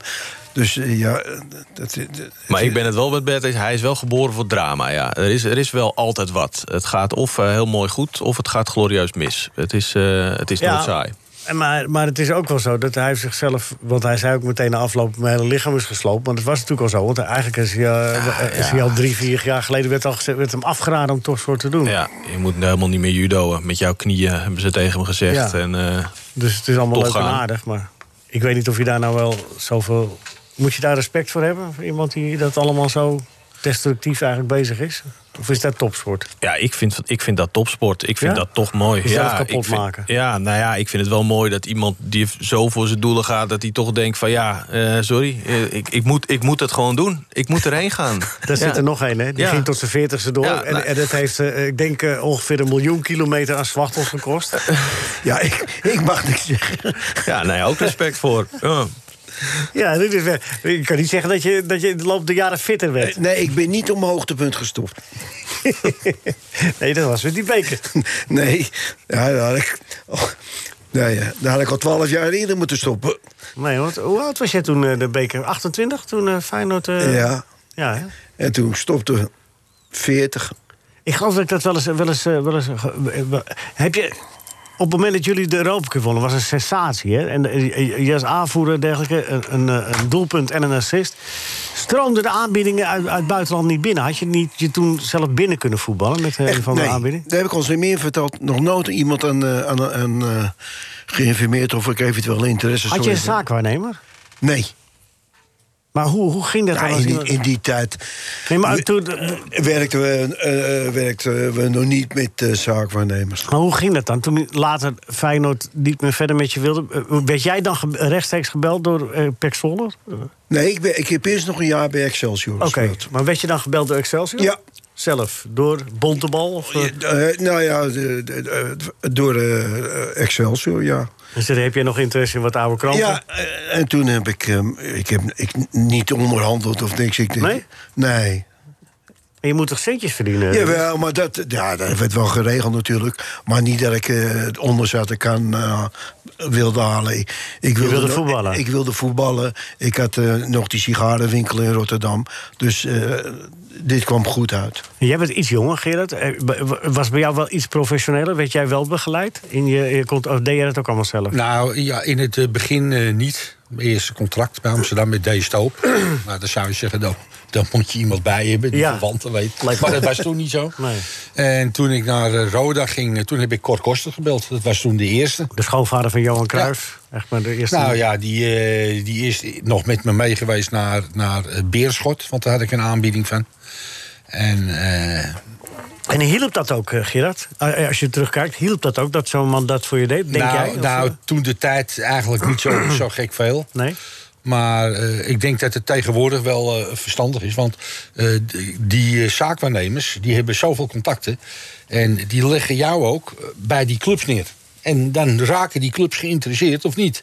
Dus eh, ja, eh, dat, eh, dat- Maar ik ben het wel met Bert eens. Hij is wel geboren voor drama. Ja. Er, is, er is wel altijd wat. Het gaat of eh, heel mooi goed, of het gaat glorieus mis. Het is, eh, het is nooit saai. en Maar, maar het is ook wel zo dat hij heeft zichzelf... Want hij zei ook meteen na afloop, mijn hele lichaam is gesloopt. Maar dat was natuurlijk al zo. Want eigenlijk is hij, eh, Ah, is hij al drie, vier jaar geleden... werd, al gezegd, werd hem afgeraden om toch soort te doen. Ja, je moet helemaal niet meer judoën. Met jouw knieën hebben ze tegen hem gezegd. Ja. En, eh, Dus het is allemaal Toch leuk en gaan. aardig. Maar ik weet niet of je daar nou wel zoveel... Moet je daar respect voor hebben? Voor iemand die dat allemaal zo destructief eigenlijk bezig is? Of is dat topsport? Ja, ik vind, ik vind dat topsport. Ik vind Ja? dat toch mooi. Jezelf ja, kapot ik vind- maken. Ja, nou ja, ik vind het wel mooi dat iemand die zo voor zijn doelen gaat... dat hij toch denkt van ja, eh, sorry, eh, ik, ik, moet, ik moet het gewoon doen. Ik moet erheen gaan. Daar Ja. zit er nog een, hè? Die Ja. ging tot zijn veertigste door. Ja, nou- en, en dat heeft, eh, ik denk, eh, ongeveer een miljoen kilometer aan zwachtels gekost. ja ik, ik mag niks zeggen. Ja, nou ja, ook respect voor. Ja. Ja, dit is wel- ik kan niet zeggen dat je, dat je in de loop der jaren fitter werd. Nee, ik ben niet op mijn hoogtepunt gestopt. Nee, dat was weer die beker. Nee, ja, daar, had ik, oh, nee, eh, daar had ik al twaalf jaar eerder moeten stoppen. Nee, want hoe oud was jij toen eh, de beker? 28? Toen eh, Feyenoord... eh, Ja, ja hè? en toen stopte 40. Ik geloof dat ik dat wel eens... Wel eens, eh, wel eens eh, ge- eh, wel- heb je... Op het moment dat jullie de Europa Cup wonnen, was een sensatie. Hè? En eh, eh, je als aanvoerder en dergelijke, een, een, eh, een doelpunt en een assist. Stroomden de aanbiedingen uit, uit het buitenland niet binnen? Had je niet je toen zelf binnen kunnen voetballen met eh, een Echt, van de nee, aanbieding? Daar heb ik ons niet meer verteld. Nog nooit iemand aan, eh, aan, aan eh, geïnformeerd of ik eventueel interesse zou Had je een hebben. zaakwaarnemer? Nee, Maar hoe, hoe ging dat Ja, dan? als in, die, iemand- in die tijd Nee, maar we- toen, werkten we, eh, eh, werkten we nog niet met eh, zaakwaarnemers. maar hoe ging dat dan? Toen later Feyenoord niet meer verder met je wilde... eh, werd jij dan ge- rechtstreeks gebeld door eh Pek Zwolle? Eh, Nee, ik, ben, ik heb eerst nog een jaar bij Excelsior Oké, gespeeld. maar werd je dan gebeld door Excelsior? Ja. Zelf, door Bontebal? Of, Oh, eh? Eh, nou ja, de- de- de- door eh, Excelsior, ja. Dus dan heb je nog interesse in wat oude kranten? Ja, eh, en toen heb ik, ehm, ik, heb, ik niet onderhandeld of niks. Ik denk, Nee? Nee. En je moet toch centjes verdienen? Jawel, maar dat, ja, dat werd wel geregeld natuurlijk. Maar niet dat ik eh, het onderzetten kan eh, wilde halen. Ik, ik wilde nog- voetballen? Ik, wilde voetballen. Ik had eh, nog die sigarenwinkel in Rotterdam. Dus eh, dit kwam goed uit. Jij bent iets jonger, Gerard. Eh, b- Was bij jou wel iets professioneler? Werd jij wel begeleid? In je, je cont- of deed jij dat ook allemaal zelf? Nou ja, in het eh, begin eh, niet. Mijn eerste contract bij Amsterdam met deze Stoop. nou, dan zou je zeggen, dan, dan moet je iemand bij hebben die Ja. verwanten weet. Maar dat was toen niet zo. Nee. En toen ik naar eh, Roda ging, eh, toen heb ik Cor Koster gebeld. Dat was toen de eerste. De schoonvader van Johan Cruijff. Echt maar de eerste... Nou ja, die, eh, die is nog met me meegeweest naar, naar eh, Beerschot. Want daar had ik een aanbieding van. En eh, En hielp dat ook, eh, Gerard? Eh, Als je terugkijkt, hielp dat ook dat zo'n man dat voor je deed? Denk nou, jij? Of, nou eh, toen de tijd eigenlijk niet zo, zo gek veel. Nee? Maar eh, ik denk dat het tegenwoordig wel eh, verstandig is. Want eh, d- die eh, zaakwaarnemers die hebben zoveel contacten. En die leggen jou ook eh, bij die clubs neer. En dan raken die clubs geïnteresseerd of niet.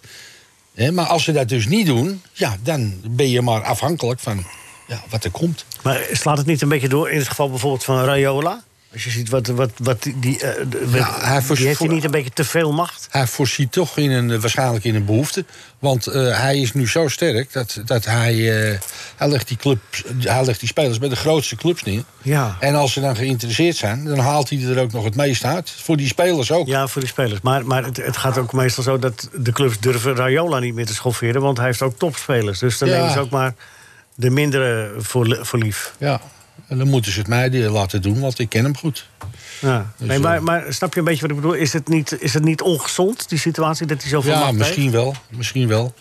Hè, maar als ze dat dus niet doen, ja, dan ben je maar afhankelijk van ja, wat er komt. eh, Maar slaat het niet een beetje door in het geval bijvoorbeeld van Rayola? Als je ziet wat, wat, wat die... die, eh, de- hij die vers- heeft hij niet een beetje te veel macht? Hij voorziet toch in een, eh, waarschijnlijk in een behoefte. Want eh, hij is nu zo sterk dat, dat hij, eh, hij, legt die clubs, hij legt die spelers bij de grootste clubs neer. Ja. En als ze dan geïnteresseerd zijn, dan haalt hij er ook nog het meest uit. Voor die spelers ook. Ja, voor die spelers. Maar, maar het, het gaat ook meestal zo dat de clubs durven Rayola niet meer te schofferen... want hij heeft ook topspelers. Dus dan Ja. nemen ze ook maar de mindere voor, li- voor lief. Ja. En dan moeten ze het mij die- laten doen, want ik ken hem goed. Ja. Nee, eh, maar, maar snap je een beetje wat ik bedoel? Is het niet, is het niet ongezond, die situatie, dat hij zoveel ja, macht misschien wel. Misschien wel.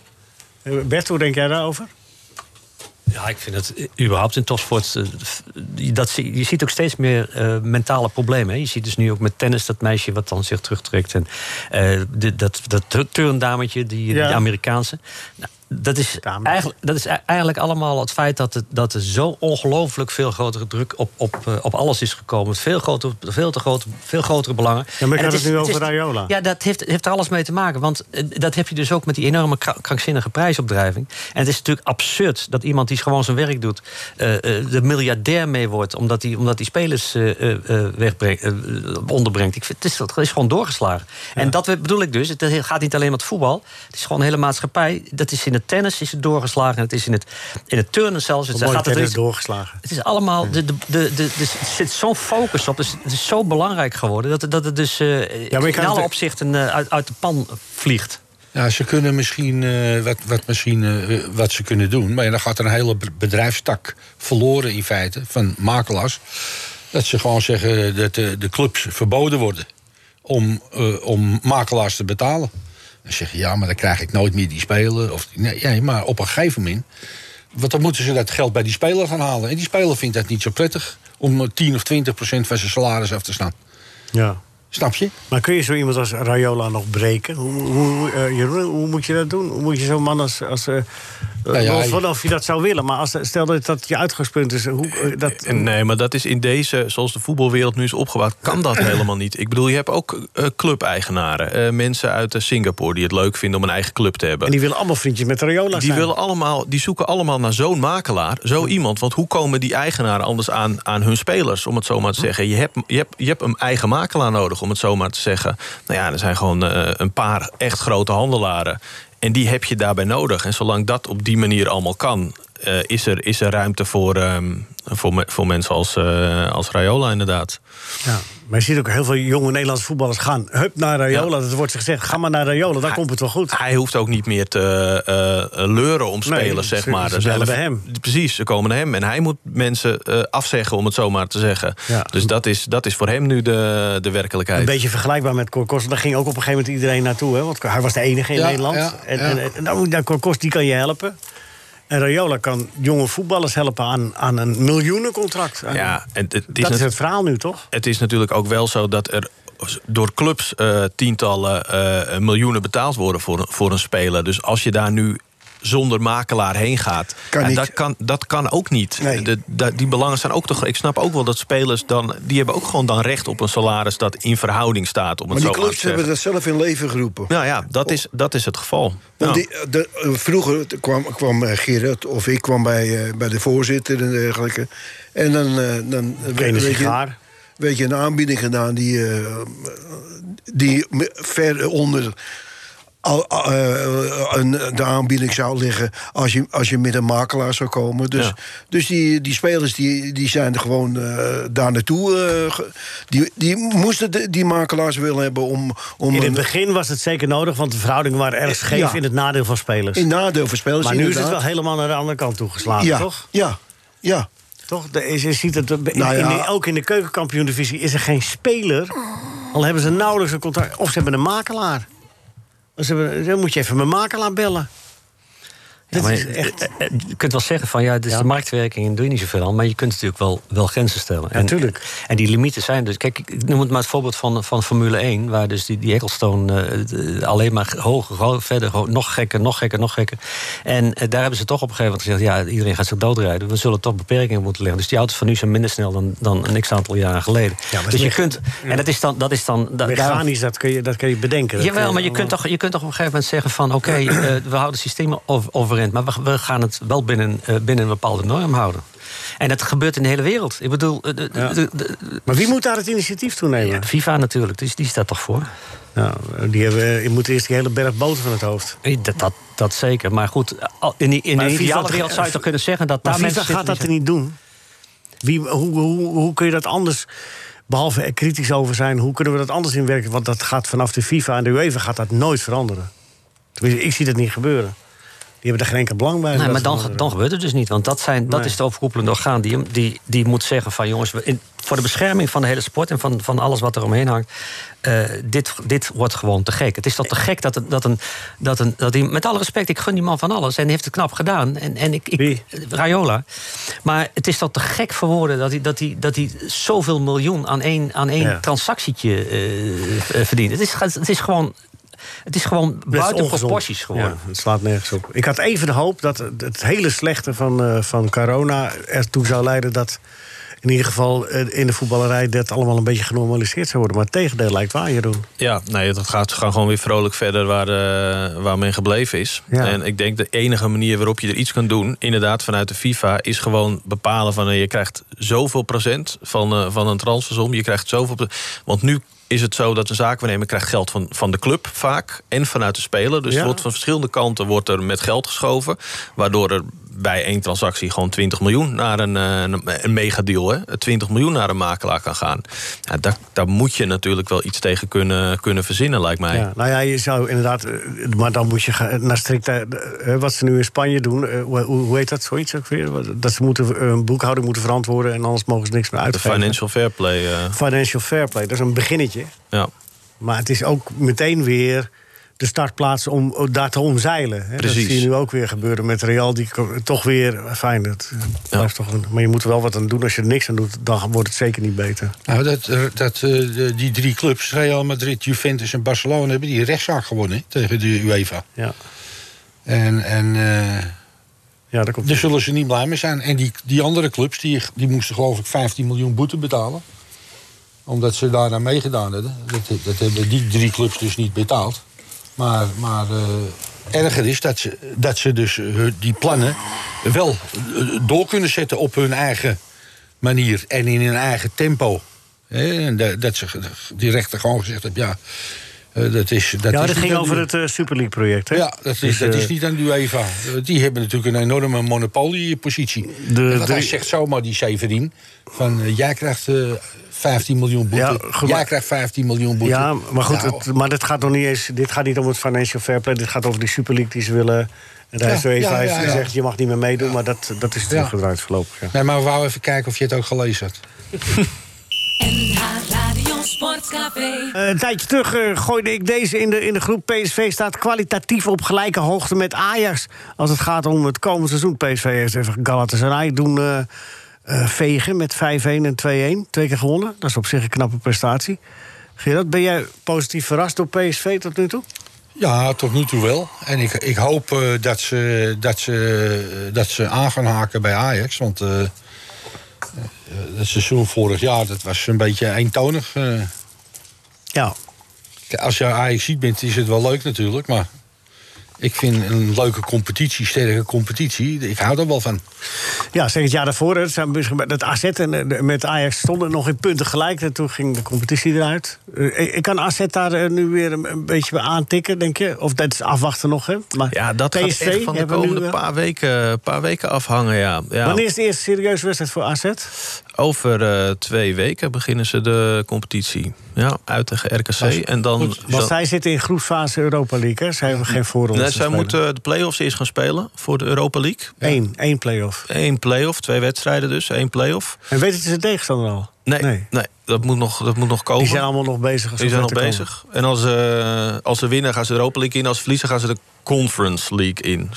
heeft? Eh, Bert, hoe denk jij daarover? Ja, ik vind het eh, überhaupt in topsport. eh, f- Dat, zie- je ziet ook steeds meer eh, mentale problemen. hè. Je ziet dus nu ook met tennis dat meisje wat dan zich terugtrekt. En eh, de- dat, dat tu- turndametje, die, Ja. die Amerikaanse. Nou, dat is, Dame. eigenlijk, dat is e- eigenlijk allemaal het feit dat, het, dat er zo ongelooflijk veel grotere druk op, op, eh, op alles is gekomen. Veel, groter, veel, te grote, veel grotere belangen. Ja, maar ik En had het het nu is- over is- Raiola. Ja, dat heeft, heeft er alles mee te maken. Want eh, dat heb je dus ook met die enorme kra- krankzinnige prijsopdrijving. En het is natuurlijk absurd dat iemand die gewoon zijn werk doet... eh, eh, er miljardair mee wordt, omdat hij omdat die spelers eh, eh, eh, wegbrengt, eh, onderbrengt. Ik vind, het, is, dat is gewoon doorgeslagen. En dat we- bedoel ik dus. Het gaat niet alleen om het voetbal. Het is gewoon de hele maatschappij. Dat is in het tennis is het doorgeslagen. Het is in het, in het turnen zelfs. Het, Wat mooi gaat het, tennis er- doorgeslagen. het is allemaal. De, de, de, de, de- er zit zo'n focus op. Dus het is zo belangrijk geworden. Dat, dat het dus eh, maar je kan in alle het- opzichten eh, uit, uit de pan vliegt. Ja, ze kunnen misschien, eh, wat, wat, misschien eh, wat ze kunnen doen. Maar ja, dan gaat er een hele be- bedrijfstak verloren in feite van makelaars. Dat ze gewoon zeggen dat de, de clubs verboden worden om, eh, om makelaars te betalen. Dan zeg je ja, maar dan krijg ik nooit meer die spelen. Of, nee, ja, maar op een gegeven moment. Want dan moeten ze dat geld bij die speler gaan halen. En die speler vindt dat niet zo prettig om eh, 10 of 20 procent van zijn salaris af te staan. Ja. Snap je? Maar kun je zo iemand als Raiola nog breken? Hoe, hoe, eh, Jeroen, hoe moet je dat doen? Hoe moet je zo'n man als... als eh, ja, los je- van of je dat zou willen, maar als, stel dat dat je uitgangspunt is... Hoe, eh, dat, En Nee, maar dat is in deze, zoals de voetbalwereld nu is opgebouwd, kan dat helemaal niet. Ik bedoel, je hebt ook eh, clubeigenaren. eh, mensen uit eh, Singapore die het leuk vinden om een eigen club te hebben. en die willen allemaal vriendjes met Raiola Die, zijn. willen allemaal, die zoeken allemaal naar zo'n makelaar, zo iemand. Want hoe komen die eigenaren anders aan, aan hun spelers, om het zo maar te zeggen? Je hebt, je, hebt, je hebt een eigen makelaar nodig, om het zo maar te zeggen. Nou ja, er zijn gewoon eh, een paar echt grote handelaren. En die heb je daarbij nodig. En zolang dat op die manier allemaal kan, eh, is, er, is er ruimte voor, ehm, voor, me- voor mensen als, eh als Raiola inderdaad. Ja. Maar je ziet ook heel veel jonge Nederlandse voetballers gaan. Hup naar Raiola, dat wordt gezegd. Ga maar naar Raiola, daar komt het wel goed. Hij hoeft ook niet meer te eh, eh, leuren om Nee, spelers, zeg ze- maar. ze Er zijn bellen er- bij hem. Precies, ze komen naar hem. En hij moet mensen eh, afzeggen, om het zo maar te zeggen. Ja. Dus dat is, dat is voor hem nu de, de werkelijkheid. Een beetje vergelijkbaar met Korkos. Daar ging ook op een gegeven moment iedereen naartoe. Hè? Want hij was de enige in Ja, Nederland. ja, en ja. en, en nou, nou, Korkos die kan je helpen. En Rayola kan jonge voetballers helpen aan, aan een miljoenencontract. Aan- Ja, en het, het is dat nat- is het verhaal nu, toch? het is natuurlijk ook wel zo dat er door clubs eh, tientallen eh, miljoenen betaald worden voor, voor een speler. Dus als je daar nu zonder makelaar heen gaat, Kan ja, niet. dat, kan, dat kan ook niet. Nee. De- da- die belangen zijn ook toch. Ik snap ook wel dat spelers dan die hebben ook gewoon dan recht op een salaris dat in verhouding staat om Maar het die zo maar te clubs hebben zeggen. dat zelf in leven geroepen. Nou ja, dat is, dat is het geval. Nou. Want Ja. die- de- eh, vroeger t- kwam, kwam eh, Gerard of ik kwam bij, eh, bij de voorzitter en dergelijke. En dan, eh, dan Geen weet, je, sigaar. weet je een aanbieding gedaan die, eh, die me- ver onder al, al- eh, een, de aanbieding zou liggen als je, als je met een makelaar zou komen. Dus, Ja. dus die, die spelers die, die zijn er gewoon eh, daar naartoe. eh, ge- die, die moesten de- die makelaars willen hebben om, om In het een- begin was het zeker nodig, want de verhoudingen waren erg scheef Ja. in het nadeel van spelers. in nadeel voor spelers. maar nu is het inderdaad. wel helemaal naar de andere kant toegeslagen, ja, toch? Ja, ja. Toch? De- is- je ziet het, in- Nou ja. in de- ook in de keukenkampioen-divisie is er geen speler. Al hebben ze nauwelijks een contract. Of ze hebben een makelaar. Of Ze hebben, dan moet je even mijn makelaar bellen. Dat maar is je- echt... eh, eh, Je kunt wel zeggen van ja, het is de marktwerking en doe je niet zoveel aan. Maar je kunt natuurlijk wel, wel grenzen stellen. En- tuurlijk. En, die limieten zijn dus. Kijk, ik noem het maar het voorbeeld van, van Formule 1, waar dus die, die Ecclestone eh, de- alleen maar hoger, ho- verder, ho- nog gekker, nog gekker, nog gekker. En eh, daar hebben ze toch op een gegeven moment gezegd: ja, iedereen gaat zich doodrijden. We zullen toch beperkingen moeten leggen. Dus die auto's van nu zijn minder snel dan, dan een x aantal jaren geleden. maar het dus is je mech- kunt. En dat is dan. Dat is dan da- daarom- Mechanisch, dat kun je, dat kun je bedenken. Dat kun Jawel, maar je kunt, toch, je kunt toch op een gegeven moment zeggen van... oké, eh, we houden systemen ov- overeind... maar we, we gaan het wel binnen, eh, binnen een bepaalde norm houden. En dat gebeurt in de hele wereld. Ik bedoel, eh, de- de- de- de- Maar wie moet daar het initiatief toe nemen? FIFA natuurlijk, dus die staat toch voor? Nou, die hebben, je moet eerst die hele berg boter van het hoofd. Eh, Dat, dat, dat zeker, maar goed, al- in, die- in Maar de FIFA ideale toch- wereld zou je toch kunnen zeggen... dat Maar daar FIFA mensen gaat dat zitten die er niet doen. Wie, hoe, hoe, hoe kun je dat anders, behalve er kritisch over zijn... hoe kunnen we dat anders inwerken? Want dat gaat vanaf de FIFA en de UEFA gaat dat nooit veranderen. Tenminste, ik zie dat niet gebeuren. Die hebben er geen enkel belang bij. om Nee, dat maar te dan, veranderen. dan gebeurt het dus niet. Want dat, zijn, dat Nee. is het overkoepelende orgaan. Die, die, die moet zeggen van jongens, we- in- voor de bescherming van de hele sport en van, van alles wat er omheen hangt. eh, dit, dit wordt gewoon te gek. Het is toch te gek dat, een- dat, een, dat, een, dat die, met alle respect, ik gun die man van alles en die heeft het knap gedaan. En, en ik, ik, Wie? Raiola. Maar het is toch te gek voor woorden dat hij, dat hij, dat hij zoveel miljoen aan één, aan één Ja. transactietje eh, eh, verdient. Het is, het is gewoon. Het is gewoon Dat is buiten ongezond. proporties geworden. Ja, het slaat nergens op. Ik had even de hoop dat het- het hele slechte van, eh, van corona ertoe zou leiden dat in ieder geval eh, in de voetballerij dat allemaal een beetje genormaliseerd zou worden. Maar het tegendeel lijkt waar, Jeroen. Ja, nee, dat gaat, ze gaan gewoon weer vrolijk verder waar, eh, waar men gebleven is. Ja. En ik denk de enige manier waarop je er iets kan doen, inderdaad vanuit de FIFA, is gewoon bepalen van eh, je krijgt zoveel procent van, eh, van een transfersom. Je krijgt zoveel. pro- Want nu is het zo dat een zaakwaarnemer krijgt geld van, van de club vaak en vanuit de speler. Dus Ja. er wordt van verschillende kanten wordt er met geld geschoven, waardoor er bij één transactie gewoon 20 miljoen naar een, eh, een, een megadeal. Hè? 20 miljoen naar een makelaar kan gaan. Ja, daar, daar moet je natuurlijk wel iets tegen kunnen, kunnen verzinnen, lijkt mij. Ja, nou ja, je zou inderdaad, eh, maar dan moet je gaan naar strikte, eh, wat ze nu in Spanje doen, eh, hoe, hoe heet dat zoiets ook weer? Wat- Dat ze moeten, eh, een boekhouder moeten verantwoorden en anders mogen ze niks meer De uitgeven. financial fair play. eh, Financial fair play, dat is een beginnetje. ja. Maar het is ook meteen weer de startplaats om om daar te omzeilen. Hè? Precies. Dat zie je nu ook weer gebeuren met Real. Die ko- toch weer, fijn, dat eh, blijft toch een- Maar je moet er wel wat aan doen. Als je er niks aan doet, dan wordt het zeker niet beter. Nou, dat, eh, dat, eh, de- die drie clubs, Real Madrid, Juventus en Barcelona, hebben die rechtszaak gewonnen hè, tegen de UEFA. Ja, En, en eh, ja daar komt daar zullen ze niet blij mee zijn. En die, die andere clubs, die, die moesten geloof ik 15 miljoen boete betalen. Omdat ze daaraan meegedaan hadden. Dat, dat hebben die drie clubs dus niet betaald. Maar, maar eh, erger is dat ze, dat ze dus hun- die plannen wel eh, door kunnen zetten op hun eigen manier en in hun eigen tempo. Hè, en da- dat ze ge- die rechter gewoon gezegd hebben, ja, eh, dat is... Dat Ja, is dat niet ging aan over u. het eh, Super League-project, hè? Ja, dat is, Dus, dat eh, is niet aan de UEFA. Eh, Die hebben natuurlijk een enorme monopoliepositie. De En wat hij drie- zegt zomaar, die Severin... van eh, jij krijgt eh, 15 miljoen boete, Ja, goed, jij maar- krijgt 15 miljoen boete. Ja, maar goed, Nou, het, maar dit gaat nog niet eens. Dit gaat niet om het financial fair play. Dit gaat over die Super League die ze willen. En daar Ja, heeft de UEFA ja, heeft ja, ja. gezegd: je mag niet meer meedoen. Maar dat, dat is teruggedraaid voorlopig. Ja. Nee, maar we wou even kijken of je het ook gelezen had. NH Radio Sportcafé. Eh, Een tijdje terug eh, gooide ik deze in de, in de groep. PSV staat kwalitatief op gelijke hoogte met Ajax. Als het gaat om het komende seizoen. PSV heeft even Galatasaray doen eh, eh, vegen met 5-1 en 2-1. Twee keer gewonnen. Dat is op zich een knappe prestatie. Gerard, ben jij positief verrast door PSV tot nu toe? Ja, tot nu toe wel. En ik, ik hoop eh, dat, ze, dat, ze, dat ze aan gaan haken bij Ajax. Want eh, eh, het seizoen vorig jaar dat was een beetje eentonig. eh. Ja. Kijk, Als je Ajax ziet bent, is het wel leuk natuurlijk. Maar ik vind een leuke competitie, sterke competitie. Ik hou er wel van. Ja, zeg het jaar daarvoor. hè, Het zijn misschien met het AZ en eh, de- met Ajax stonden nog in punten gelijk. En toen ging de competitie eruit. Eh, ik- ik kan AZ daar eh, nu weer een, een beetje bij aantikken, denk je? Of dat is afwachten nog, hè? Maar ja, dat gaat PSV echt van de hebben we nu, komende eh, paar, weken, paar weken afhangen. Ja. Ja, Wanneer is de eerste serieuze wedstrijd voor AZ? Over eh, twee weken beginnen ze de competitie. Ja, uit tegen RKC. en dan, Want dan- zij zitten in groepsfase Europa League, hè? Zij hebben geen voorronde. nee, zij moeten de play-offs eerst gaan spelen voor de Europa League. Eén, één play-off. Eén play-off, twee wedstrijden dus, één play-off. En weten ze de tegenstander al? Nee, nee. dat, moet nog, dat moet nog komen. Die zijn allemaal nog bezig. als Die ze zijn nog met te bezig. komen. En als, eh, als ze winnen, gaan ze de Europa League in. Als ze verliezen, gaan ze de Conference League in.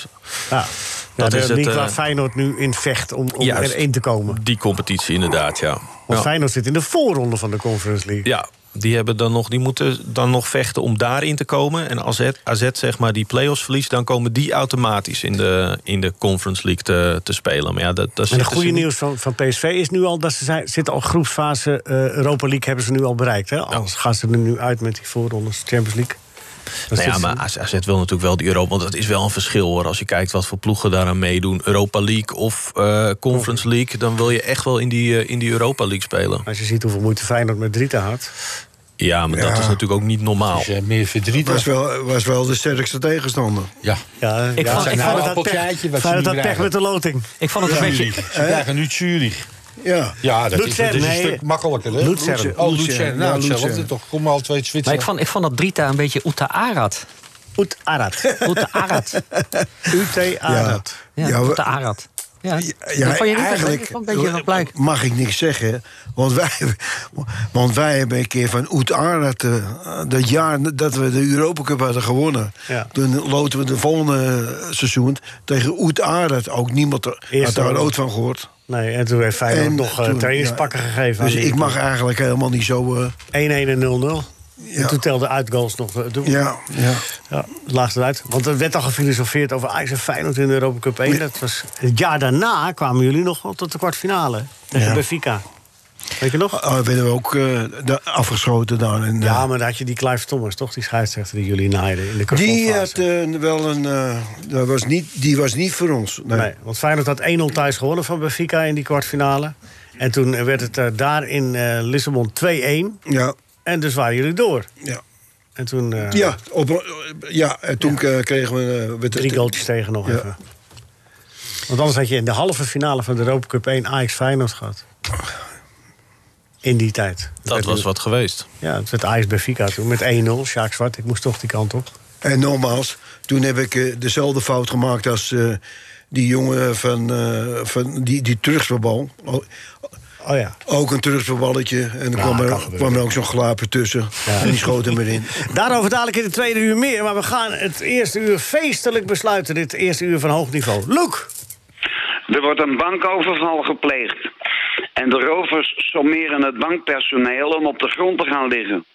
Ja. Dat dat is is het, niet waar eh, Feyenoord nu in vecht om, om Juist. erin te komen. Die competitie inderdaad, ja. Want Ja, Feyenoord zit in de voorronde van de Conference League. ja die, hebben dan nog, die moeten dan nog vechten om daarin te komen. En als AZ, AZ zeg maar die play-offs verliest... dan komen die automatisch in de, in de Conference League te, te spelen. Maar ja, dat, dat En zitten het ze goede niet- nieuws van, van PSV is nu al dat ze zijn, zitten al groepsfase eh, Europa League hebben ze nu al bereikt. Hè? Anders gaan ze er nu uit met die voorrondes Champions League. Dan Nou ja, zitten ze- maar AZ AZ wil natuurlijk wel die Europa. Want dat is wel een verschil hoor. Als je kijkt wat voor ploegen daaraan meedoen. Europa League of eh, Conference League. Dan wil je echt wel in die, eh, in die Europa League spelen. Als je ziet hoeveel moeite Feyenoord met Drita had. Ja, maar dat Ja. is natuurlijk ook niet normaal. Dus eh, meer verdriet. Was Was wel, was wel de sterkste tegenstander. Ja. Ja, Ik ja, vond- ik vond- had appeltje pech, eitje wat ze Feyenoord nu had pech krijgen. met de loting. Ik vond het een beetje. Zurich. Ze krijgen nu Zurich. Ja. Ja, dat is, Luzern, dat is een nee. stuk makkelijker. hè? Luzern. Oh, Luzern. Luzern, Nou, ja, Luzern. hetzelfde toch. Kom al twee Maar ik Zwitsers. vond, ik vond dat Drita een beetje Uta Arad. Oet Arad. Uta Arad. UT Arad. Ja, Ja, we- Uta Arad. Ja, dat vond je niet eigenlijk een beetje een blijk. mag ik niks zeggen. Want wij, want wij hebben een keer van Oet Arat... eh, dat jaar dat we de Europa Cup hadden gewonnen... Ja. toen loten we de volgende seizoen tegen Oet Arat. Ook niemand er- had Eerste daar ronde. ooit van gehoord. Nee, en toen heeft Feyenoord nog eh, toen- trainingspakken ja. gegeven. Dus aan die- ik mag eigenlijk helemaal niet zo... eh, 1-1 en 0-0. En Ja. toen telde uitgoals nog. eh, Toen, ja, ja. Ja, het laagste uit. Want er werd al gefilosofeerd over Ajax en Feyenoord in de Europa Cup 1. Dat was, het jaar daarna kwamen jullie nog wel tot de kwartfinale. Tegen Ja. Benfica. Weet je nog? Ah, werden we ook eh, da- afgeschoten daar. En, eh, Ja, maar daar had je die Clive Thomas, toch? Die scheidsrechter die jullie naaiden in de Die kwartfinale. had eh, wel een. eh, dat was niet, die was niet voor ons. Nee. Nee, want Feyenoord had 1-0 thuis gewonnen van Benfica in die kwartfinale. En toen werd het eh, daar in eh, Lissabon 2-1. Ja, En dus waren jullie door. ja. En toen eh, Ja, op, ja, en toen eh, kregen we. eh, werd drie het- goaltjes tegen nog Ja. even. Want anders had je in de halve finale van de Europa Cup 1 Ajax Feyenoord gehad. In die tijd. Dat was wat geweest. Ja, het werd Ajax Benfica toen met 1-0. Sjaak Zwart, ik moest toch die kant op. En nogmaals, toen heb ik eh, dezelfde fout gemaakt als eh, die jongen van, eh, van die, die terugspeelbal. O- Oh ja. Ook een terugspeelballetje. En dan kwam, kan er, gebeuren. kwam er ook zo'n glaper tussen. En die schoot hem erin. Daarover dadelijk in de tweede uur meer. Maar we gaan het eerste uur feestelijk besluiten. Dit eerste uur van hoog niveau. Loek! Er wordt een bankoverval gepleegd. En de rovers sommeren het bankpersoneel om op de grond te gaan liggen.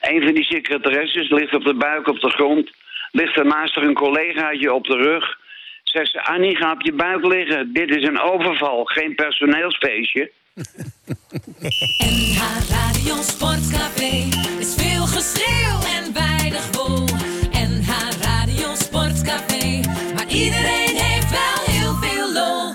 Een van die secretaresses ligt op de buik op de grond. Ligt daarnaast er een collegaatje op de rug. Zegt ze, Annie, ga op je buik liggen. Dit is een overval, geen personeelsfeestje. NH Radio Sportcafé is veel geschreeuw en weinig wol. NH Radio Sportcafé, maar iedereen heeft wel heel veel lol.